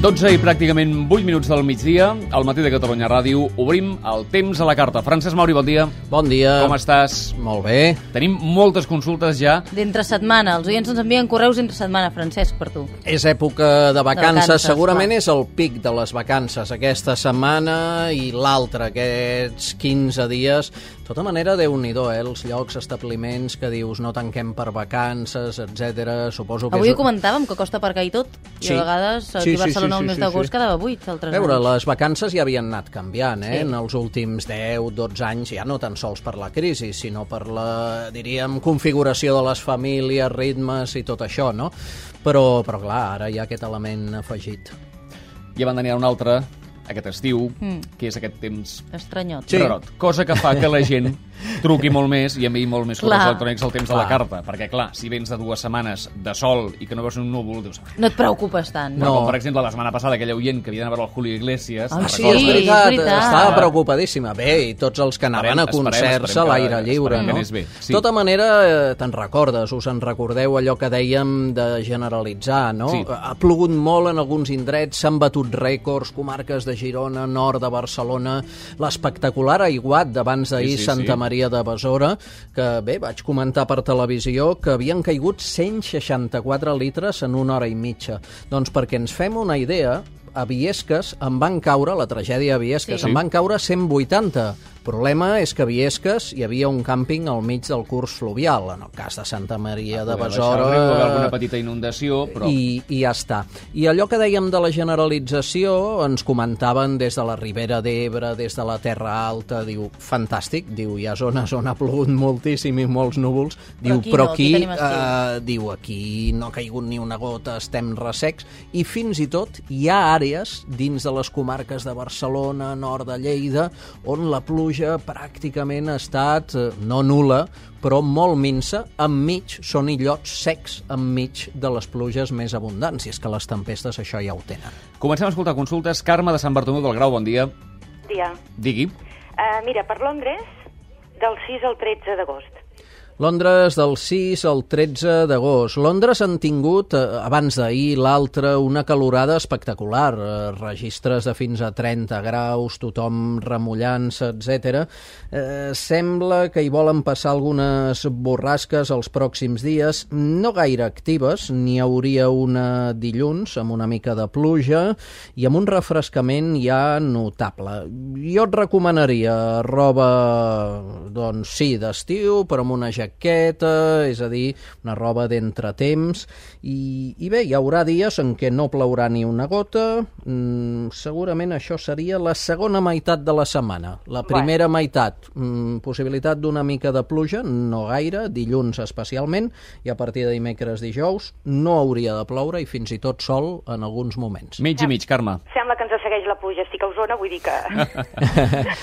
12 i pràcticament 8 minuts del migdia, al matí de Catalunya Ràdio, obrim el temps a la carta. Francesc Mauri, bon dia. Bon dia. Com estàs? Molt bé. Tenim moltes consultes ja. D'entre setmana. Els oients ens envien correus entre setmana, Francesc, per tu. És època de vacances, vacances, segurament clar. és el pic de les vacances aquesta setmana i l'altra, aquests 15 dies. De tota manera, déu nhi eh? els llocs, establiments que dius no tanquem per vacances, etc. Suposo que Avui és... ho comentàvem, que costa aparcar i tot. Sí. I a vegades aquí Sí, sí, a Barcelona sí, sí, el mes sí, d'agost sí. quedava buit. Altres A veure, anys. les vacances ja havien anat canviant, eh? Sí. En els últims 10, 12 anys, ja no tan sols per la crisi, sinó per la, diríem, configuració de les famílies, ritmes i tot això, no? Però, però clar, ara hi ha aquest element afegit. Ja van tenir un altre aquest estiu, Hmm. mm. que és aquest temps Estranyot. Sí. rarot. Cosa que fa que la gent truqui molt més i enviï molt més correus Clar. electrònics al temps de la Clar. carta. Perquè, clar, si vens de dues setmanes de sol i que no veus un núvol, dius... No et preocupes tant. No. No. Com, per exemple, la setmana passada, aquella oient que havia d'anar a veure el Julio Iglesias... Ah, te'n sí, recordes? és veritat. Estava preocupadíssima. Bé, i tots els que anaven Esperem- a esperem- concerts esperem a que- l'aire lliure, esperem que no? anés bé, sí. De tota manera, eh, te'n recordes, us en recordeu allò que dèiem de generalitzar, no? Sí. Ha plogut molt en alguns indrets, s'han batut rècords, comarques de Girona, nord de Barcelona, l'espectacular aiguat d'abans d'ahir Sí, sí, Santa sí. Maria de Besora, que bé, vaig comentar per televisió que havien caigut 164 litres en una hora i mitja. Doncs perquè ens fem una idea, a Viesques en van caure, la tragèdia a Viesques, Sí. sí. en van caure 180. problema és que a Viesques hi havia un càmping al mig del curs fluvial, en el cas de Santa Maria de Poder Ah, baixar el riu, va haver Besora... alguna petita inundació, però... eh, I, I ja està. I allò que dèiem de la generalització ens comentaven des de la Ribera d'Ebre, des de la Terra Alta, diu, fantàstic, diu, hi ha zones on ha plogut moltíssim i molts núvols, diu, aquí però no, aquí, aquí tenim estiu." eh, diu, aquí no ha caigut ni una gota, estem ressecs, i fins i tot hi ha àrees dins de les comarques de Barcelona, nord de Lleida, on la pluja pràcticament ha estat, eh, no nula, però molt minsa, enmig són illots secs enmig de les pluges més abundants, i és que les tempestes això ja ho tenen. Comencem a escoltar consultes. Carme de Sant Bartomeu del Grau, bon dia. dia. Digui. Uh, mira, per Londres, del 6 al 13 d'agost. Londres del 6 al 13 d'agost. Londres han tingut, eh, abans d'ahir, l'altre, una calorada espectacular. Eh, registres de fins a 30 graus, tothom remullant-se, etc. Eh, sembla que hi volen passar algunes borrasques els pròxims dies, no gaire actives, n'hi hauria una dilluns amb una mica de pluja i amb un refrescament ja notable. Jo et recomanaria roba, doncs sí, d'estiu, però amb una jaqueta, és a dir, una roba d'entretemps, i, i bé, hi haurà dies en què no plourà ni una gota, mm, segurament això seria la segona meitat de la setmana. La primera meitat, mm, possibilitat d'una mica de pluja, no gaire, dilluns especialment, i a partir de dimecres dijous no hauria de ploure i fins i tot sol en alguns moments. Mig i mig, Carme. Sembla que ens segueix la pluja. Estic a Osona, vull dir que...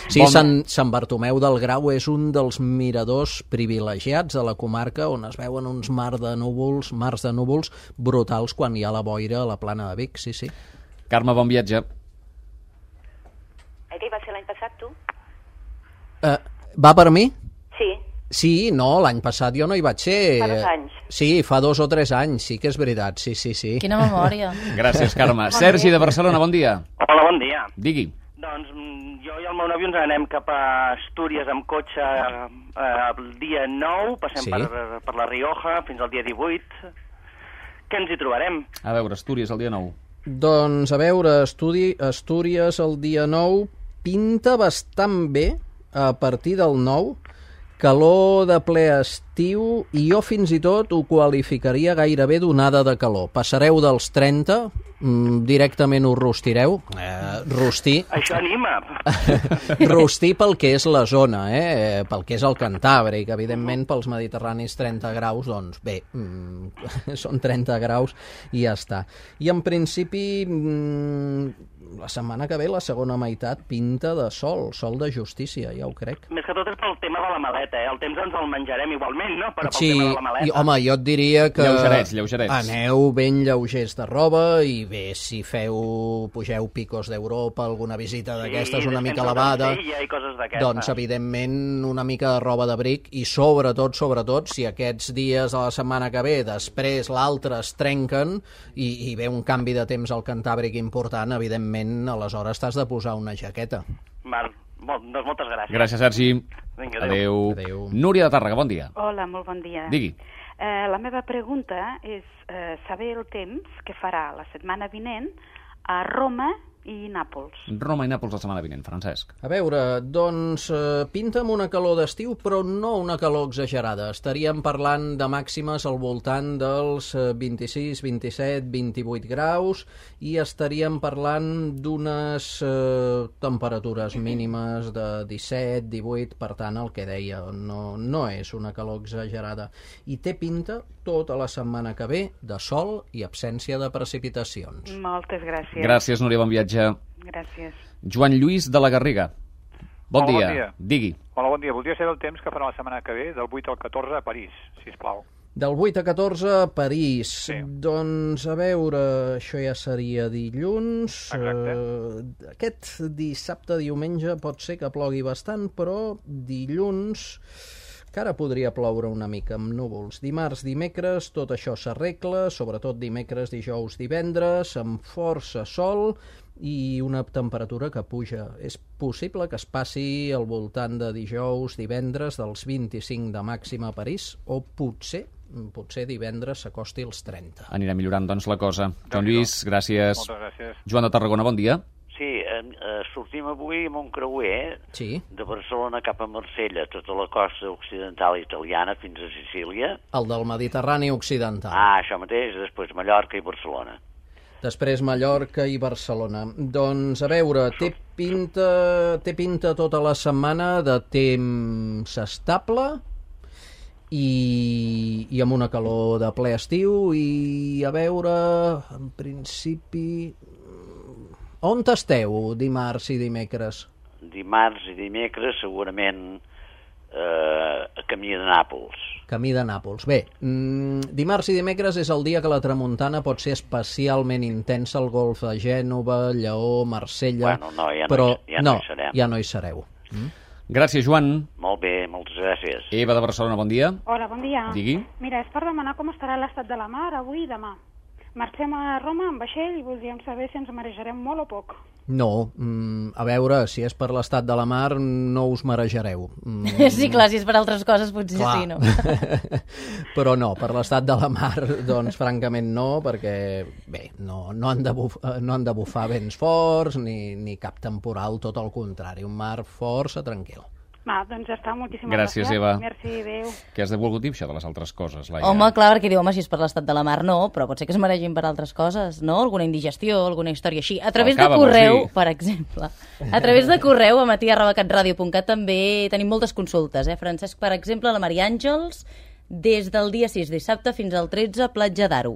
Sí, Bon- Sant, Sant Bartomeu del Grau és un dels miradors privilegiats de la comarca on es veuen uns mar de núvols, mars de núvols brutals quan hi ha la boira a la plana de Vic, sí, sí. Carme, bon viatge. Aquell va ser l'any passat, tu? Uh, va per mi? Sí. Sí, no, l'any passat jo no hi vaig ser. Fa dos anys. Sí, fa dos o tres anys, sí que és veritat, sí, sí, sí. Quina memòria. Gràcies, Carme. Sergi de Barcelona, bon dia. Hola, bon dia. Digui. Doncs mm, jo i el meu nòvio ens anem cap a Astúries amb cotxe eh, el dia 9, passem Sí. sí. per, per la Rioja fins al dia 18. Què ens hi trobarem? A veure, Astúries, el dia 9. Doncs, a veure, estudi, Astúries el dia 9 pinta bastant bé a partir del 9, calor de ple estiu i jo fins i tot ho qualificaria gairebé d'onada de calor. Passareu dels 30, mm, directament ho rostireu, eh, rostir, Això anima. rostir pel que és la zona, eh? pel que és el Cantàbric. Evidentment, pels mediterranis 30 graus, doncs bé, mm, són 30 graus i ja està. I en principi, mm, la setmana que ve la segona meitat pinta de sol, sol de justícia, ja ho crec. Més que tot és pel tema de la maleta, eh? El temps ens el menjarem igualment, no? Però pel Sí, tema de la maleta. i, home, jo et diria que... Lleugerets, lleugerets. Aneu ben lleugers de roba i bé, si feu, pugeu picos d'Europa, alguna visita d'aquestes Sí, una mica despensa elevada... d'arcilla I coses d'aquestes. Doncs, evidentment, una mica de roba d'abric i, sobretot, sobretot, si aquests dies de la setmana que ve, després l'altre es trenquen i, i ve un canvi de temps al Cantàbric important, evidentment, aleshores t'has de posar una jaqueta. Val. Bon, doncs moltes gràcies. Gràcies, Sergi. Vinga, adéu. Adéu. Adéu. Núria de Tàrrega, bon dia. Hola, molt bon dia. Digui. Eh, la meva pregunta és eh, saber el temps que farà la setmana vinent a Roma i Nàpols. Roma i Nàpols la setmana vinent, Francesc. A veure, doncs eh, pinta amb una calor d'estiu, però no una calor exagerada. Estaríem parlant de màximes al voltant dels eh, 26, 27, 28 graus i estaríem parlant d'unes eh, temperatures mínimes de 17, 18, per tant, el que deia, no, no és una calor exagerada. I té pinta tota la setmana que ve de sol i absència de precipitacions. Moltes gràcies. Gràcies, Núria, bon viatge. Gràcies. Joan Lluís de la Garriga. Bon, Hola, bon dia. dia. Digui. Hola, bon dia. Voldria saber el temps que farà la setmana que ve, del 8 al 14 a París, si us plau. Del 8 a 14 a París. Sí. Sí. Doncs a veure, això ja seria dilluns. Exacte. Eh, aquest dissabte, diumenge, pot ser que plogui bastant, però dilluns que ara podria ploure una mica amb núvols. Dimarts, dimecres, tot això s'arregla, sobretot dimecres, dijous, divendres, amb força sol i una temperatura que puja. És possible que es passi al voltant de dijous, divendres, dels 25 de màxima a París, o potser, potser divendres s'acosti als 30. Anirà millorant, doncs, la cosa. Joan Lluís, gràcies. Moltes gràcies. Joan de Tarragona, bon dia. Sí, eh, eh, sortim avui amb un creuer eh, Sí, de Barcelona cap a Marsella, tota la costa occidental italiana fins a Sicília. el del Mediterrani Occidental. Ah, això mateix, després Mallorca i Barcelona. Després Mallorca i Barcelona. Doncs a veure, té pinta, té pinta tota la setmana de temps estable i, i amb una calor de ple estiu i a veure, en principi... On esteu dimarts i dimecres? Dimarts i dimecres segurament eh, a camí de Nàpols. Camí de Nàpols. Bé, mm, dimarts i dimecres és el dia que la tramuntana pot ser especialment intensa al golf de Gènova, Lleó, Marsella... Bueno, no, ja no però hi- ja no no, hi serem. ja no hi sereu. Gràcies, Joan. Molt bé, moltes gràcies. Eva de Barcelona, bon dia. Hola, bon dia. Digui. Mira, és per demanar com estarà l'estat de la mar avui i demà. Marxem a Roma amb vaixell i voldríem saber si ens marejarem molt o poc. No, mm, a veure, si és per l'estat de la mar, no us marejareu. Mm, Sí, clar, si és per altres coses potser clar. sí, no? Però no, per l'estat de la mar, doncs, francament no, perquè, bé, no, no, han, de buf, eh, no han de bufar vents forts ni, ni cap temporal, tot el contrari, un mar força tranquil. Va, doncs ja està, moltíssimes Gràcies, gràcies. Eva. Merci, adéu. Què has de volgut dir, això, de les altres coses, Laia? Home, clar, perquè diu, home, si és per l'estat de la mar, no, però potser que es mereixin per altres coses, no? Alguna indigestió, alguna història així. A través Acaba, de correu, vols dir? per exemple, a través de correu a matí.catradio.cat també tenim moltes consultes, eh, Francesc? Per exemple, la Maria Àngels, des del dia 6 dissabte fins al 13, platja d'Aro.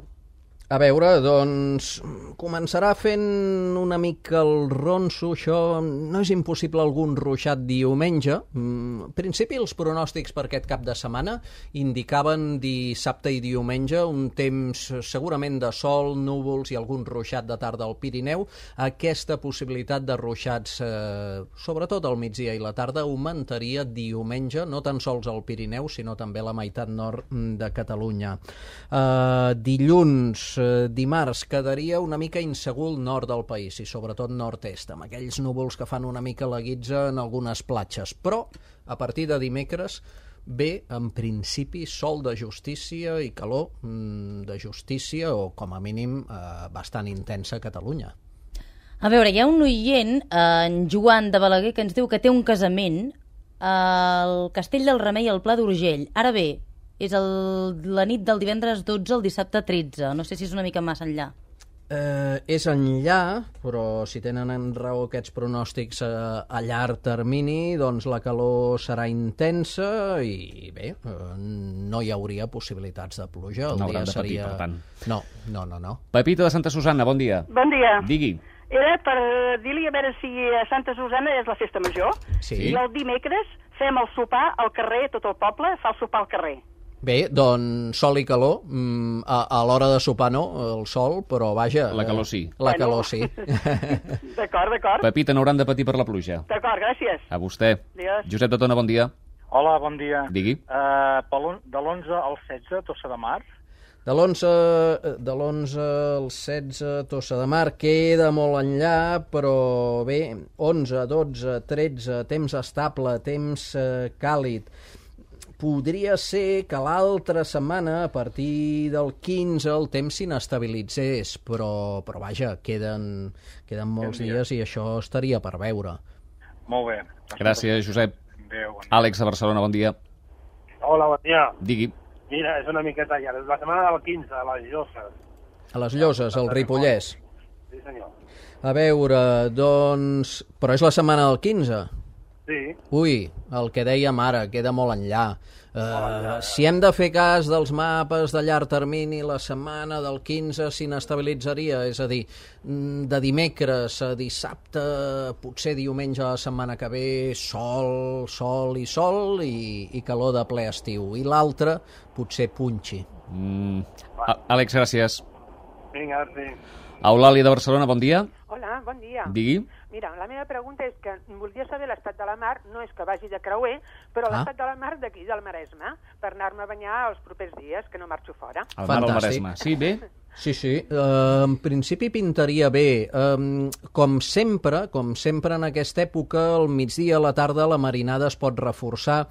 A veure, doncs, començarà fent una mica el ronso, això no és impossible algun ruixat diumenge. Mm, En principi, els pronòstics per aquest cap de setmana indicaven dissabte i diumenge un temps eh, segurament de sol, núvols i algun ruixat de tarda al Pirineu. Aquesta possibilitat de ruixats, eh, sobretot al migdia i la tarda, augmentaria diumenge, no tan sols al Pirineu, sinó també a la meitat nord mm, de Catalunya. Eh, dilluns, eh, dimarts, quedaria una mica insegur el nord del país i sobretot nord-est, amb aquells núvols que fan una mica la guitza en algunes platges. Però, a partir de dimecres, ve, en principi, sol de justícia i calor mm, de justícia, o com a mínim eh, bastant intensa a Catalunya. A veure, hi ha un oient, eh, en Joan de Balaguer, que ens diu que té un casament al Castell del Remei, al Pla d'Urgell. Ara bé, és el, la nit del divendres 12 al dissabte 13. No sé si és una mica massa enllà. Eh, és enllà, però si tenen en raó aquests pronòstics eh, a llarg termini, doncs la calor serà intensa i bé, eh, no hi hauria possibilitats de pluja. El No dia hauran de patir, seria... per tant. No, no, no, no. Pepita de Santa Susanna, bon dia. Bon dia. Digui. era per dir-li a veure si a Santa Susana és la festa major. Sí. I el dimecres fem el sopar al carrer, tot el poble fa el sopar al carrer. Bé, doncs sol i calor. Mm, a a l'hora de sopar no, el sol, però vaja... La eh, calor sí. La Bueno. calor sí. D'acord, d'acord? Pepita, n'hauran de patir per la pluja. D'acord, gràcies. A vostè. Adiós. Josep de Tona, bon dia. Hola, bon dia. Digui. Uh, de l'11 al 16, Tossa de Mar. De l'11 eh, de l'11 al 16, Tossa de Mar, queda molt enllà, però bé, 11, 12, 13, temps estable, temps eh, càlid. Podria ser que l'altra setmana, a partir del 15, el temps s'inestabilitzés, però, però vaja, queden, queden molts dies i això estaria per veure. Molt bé. Gràcies, Josep. Adéu, bon dia. Àlex, de Barcelona, bon dia. Hola, bon dia. Digui. Mira, és una miqueta llarga. La setmana del 15, a les Lloses. A les Lloses, al Ripollès. Sí, senyor. A veure, doncs... Però és la setmana del 15. Sí. Ui, el que dèiem ara, queda molt enllà. Uh, si hem de fer cas dels mapes de llarg termini, la setmana del 15 s'inestabilitzaria, és a dir, mm, de dimecres a dissabte, potser diumenge la setmana que ve, sol, sol i sol i, i calor de ple estiu. I l'altre, potser punxi. Mm. A- Àlex, gràcies. Vinga, sí. Eulàlia, de Barcelona, bon dia. Hola, bon dia. Digui. Mira, la meva pregunta és que voldria saber l'estat de la mar, no és que vagi de creuer, però Ah. l'estat de la mar d'aquí, del Maresme, per anar-me a banyar els propers dies, que no marxo fora. El mar al Fantàstic. Maresme. Sí, bé? Sí, sí. Uh, en principi pintaria bé. Um, com sempre, com sempre en aquesta època, al migdia a la tarda la marinada es pot reforçar.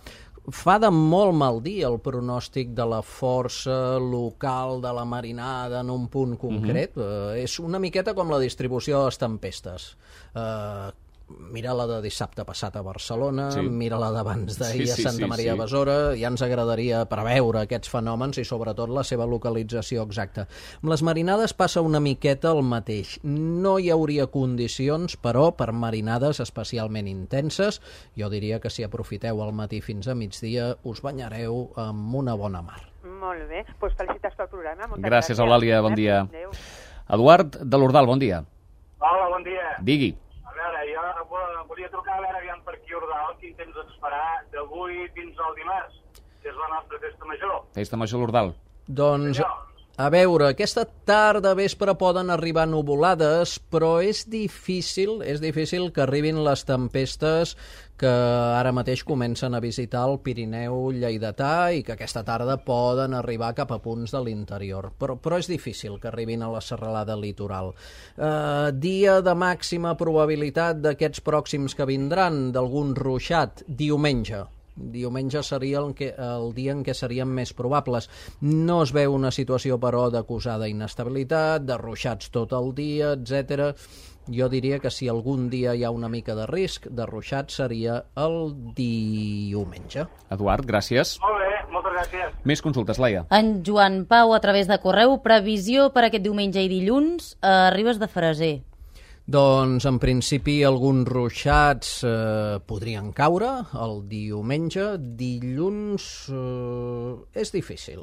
Fa de molt mal dia el pronòstic de la força local de la marinada en un punt concret. Mm -hmm. uh, és una miqueta com la distribució de les tempestes. Uh, mira la de dissabte passat a Barcelona, Sí. sí. mira la d'abans d'ahir Sí, a sí, Santa sí, Maria sí. Besora, aleshores ja ens agradaria preveure aquests fenòmens i sobretot la seva localització exacta. Amb les marinades passa una miqueta el mateix. No hi hauria condicions, però, per marinades especialment intenses, jo diria que si aprofiteu al matí fins a migdia us banyareu amb una bona mar. Molt bé, doncs pues felicitats pel programa. Moltes Gràcies, Eulàlia, bon dia. Adéu. Eduard, de l'Ordal, bon dia. Hola, bon dia. Digui. A veure, jo eh, volia trucar a veure aviam per aquí a Ordal quin temps ens farà d'avui fins al dimarts, que és la nostra festa major. Festa Major a l'Ordal. Doncs, a veure, aquesta tarda vespre poden arribar nuvolades, però és difícil, és difícil que arribin les tempestes que ara mateix comencen a visitar el Pirineu Lleidatà i que aquesta tarda poden arribar cap a punts de l'interior. Però, però és difícil que arribin a la serralada litoral. Eh, dia de màxima probabilitat d'aquests pròxims que vindran, d'algun ruixat, diumenge. Diumenge seria el, que, el dia en què serien més probables. No es veu una situació, però, d'acusada inestabilitat, de ruixats tot el dia, etc. Jo diria que si algun dia hi ha una mica de risc, de ruixat seria el diumenge. Eduard, gràcies. Molt bé, moltes gràcies. Més consultes, Laia. En Joan Pau, a través de correu, previsió per aquest diumenge i dilluns a Ribes de Freser. Doncs, en principi, alguns ruixats eh, podrien caure el diumenge. Dilluns eh, és difícil.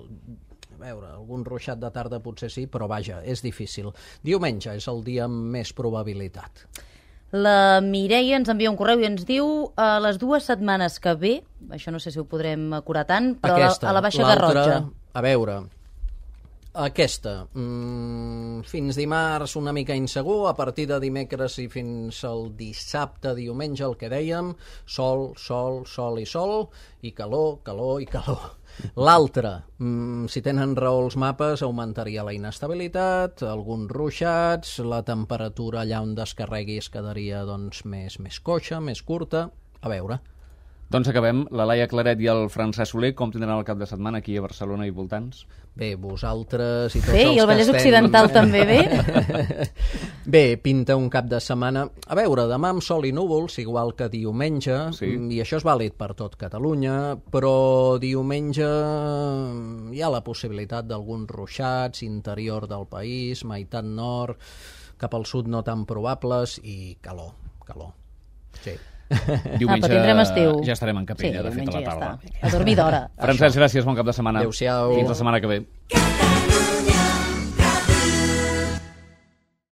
A veure, algun ruixat de tarda potser sí, però vaja, és difícil. Diumenge és el dia amb més probabilitat. La Mireia ens envia un correu i ens diu a les dues setmanes que ve, això no sé si ho podrem acurar tant, però a la- Aquesta, a la Baixa l'altra, Garrotxa. A veure, aquesta, mm, fins dimarts una mica insegur, a partir de dimecres i fins al dissabte, diumenge, el que dèiem, sol, sol, sol i sol, i calor, calor i calor. L'altre, mm, si tenen raó els mapes, augmentaria la inestabilitat, alguns ruixats, la temperatura allà on descarreguis quedaria doncs, més, més coixa, més curta. A veure. Doncs acabem. La Laia Claret i el Francesc Soler, com tindran el cap de setmana aquí a Barcelona i voltants? Ah, Bé, vosaltres i tots Bé, els i el que Vallès estem... Occidental també, Ah, bé? bé, pinta un cap de setmana... A veure, demà amb sol i núvols, igual que diumenge, Sí. mm, i això és vàlid per tot Catalunya, però diumenge mm, hi ha la possibilitat d'alguns ruixats, interior del país, meitat nord, cap al sud no tan probables, i calor, calor. Sí. Diumenge Ah, però tindrem estiu. ja estarem en capella, de Sí, fet, a diumenge la ja tarda. està. A dormir d'hora. Francesc, gràcies, bon cap de setmana. Adéu-siau. Fins la setmana que ve.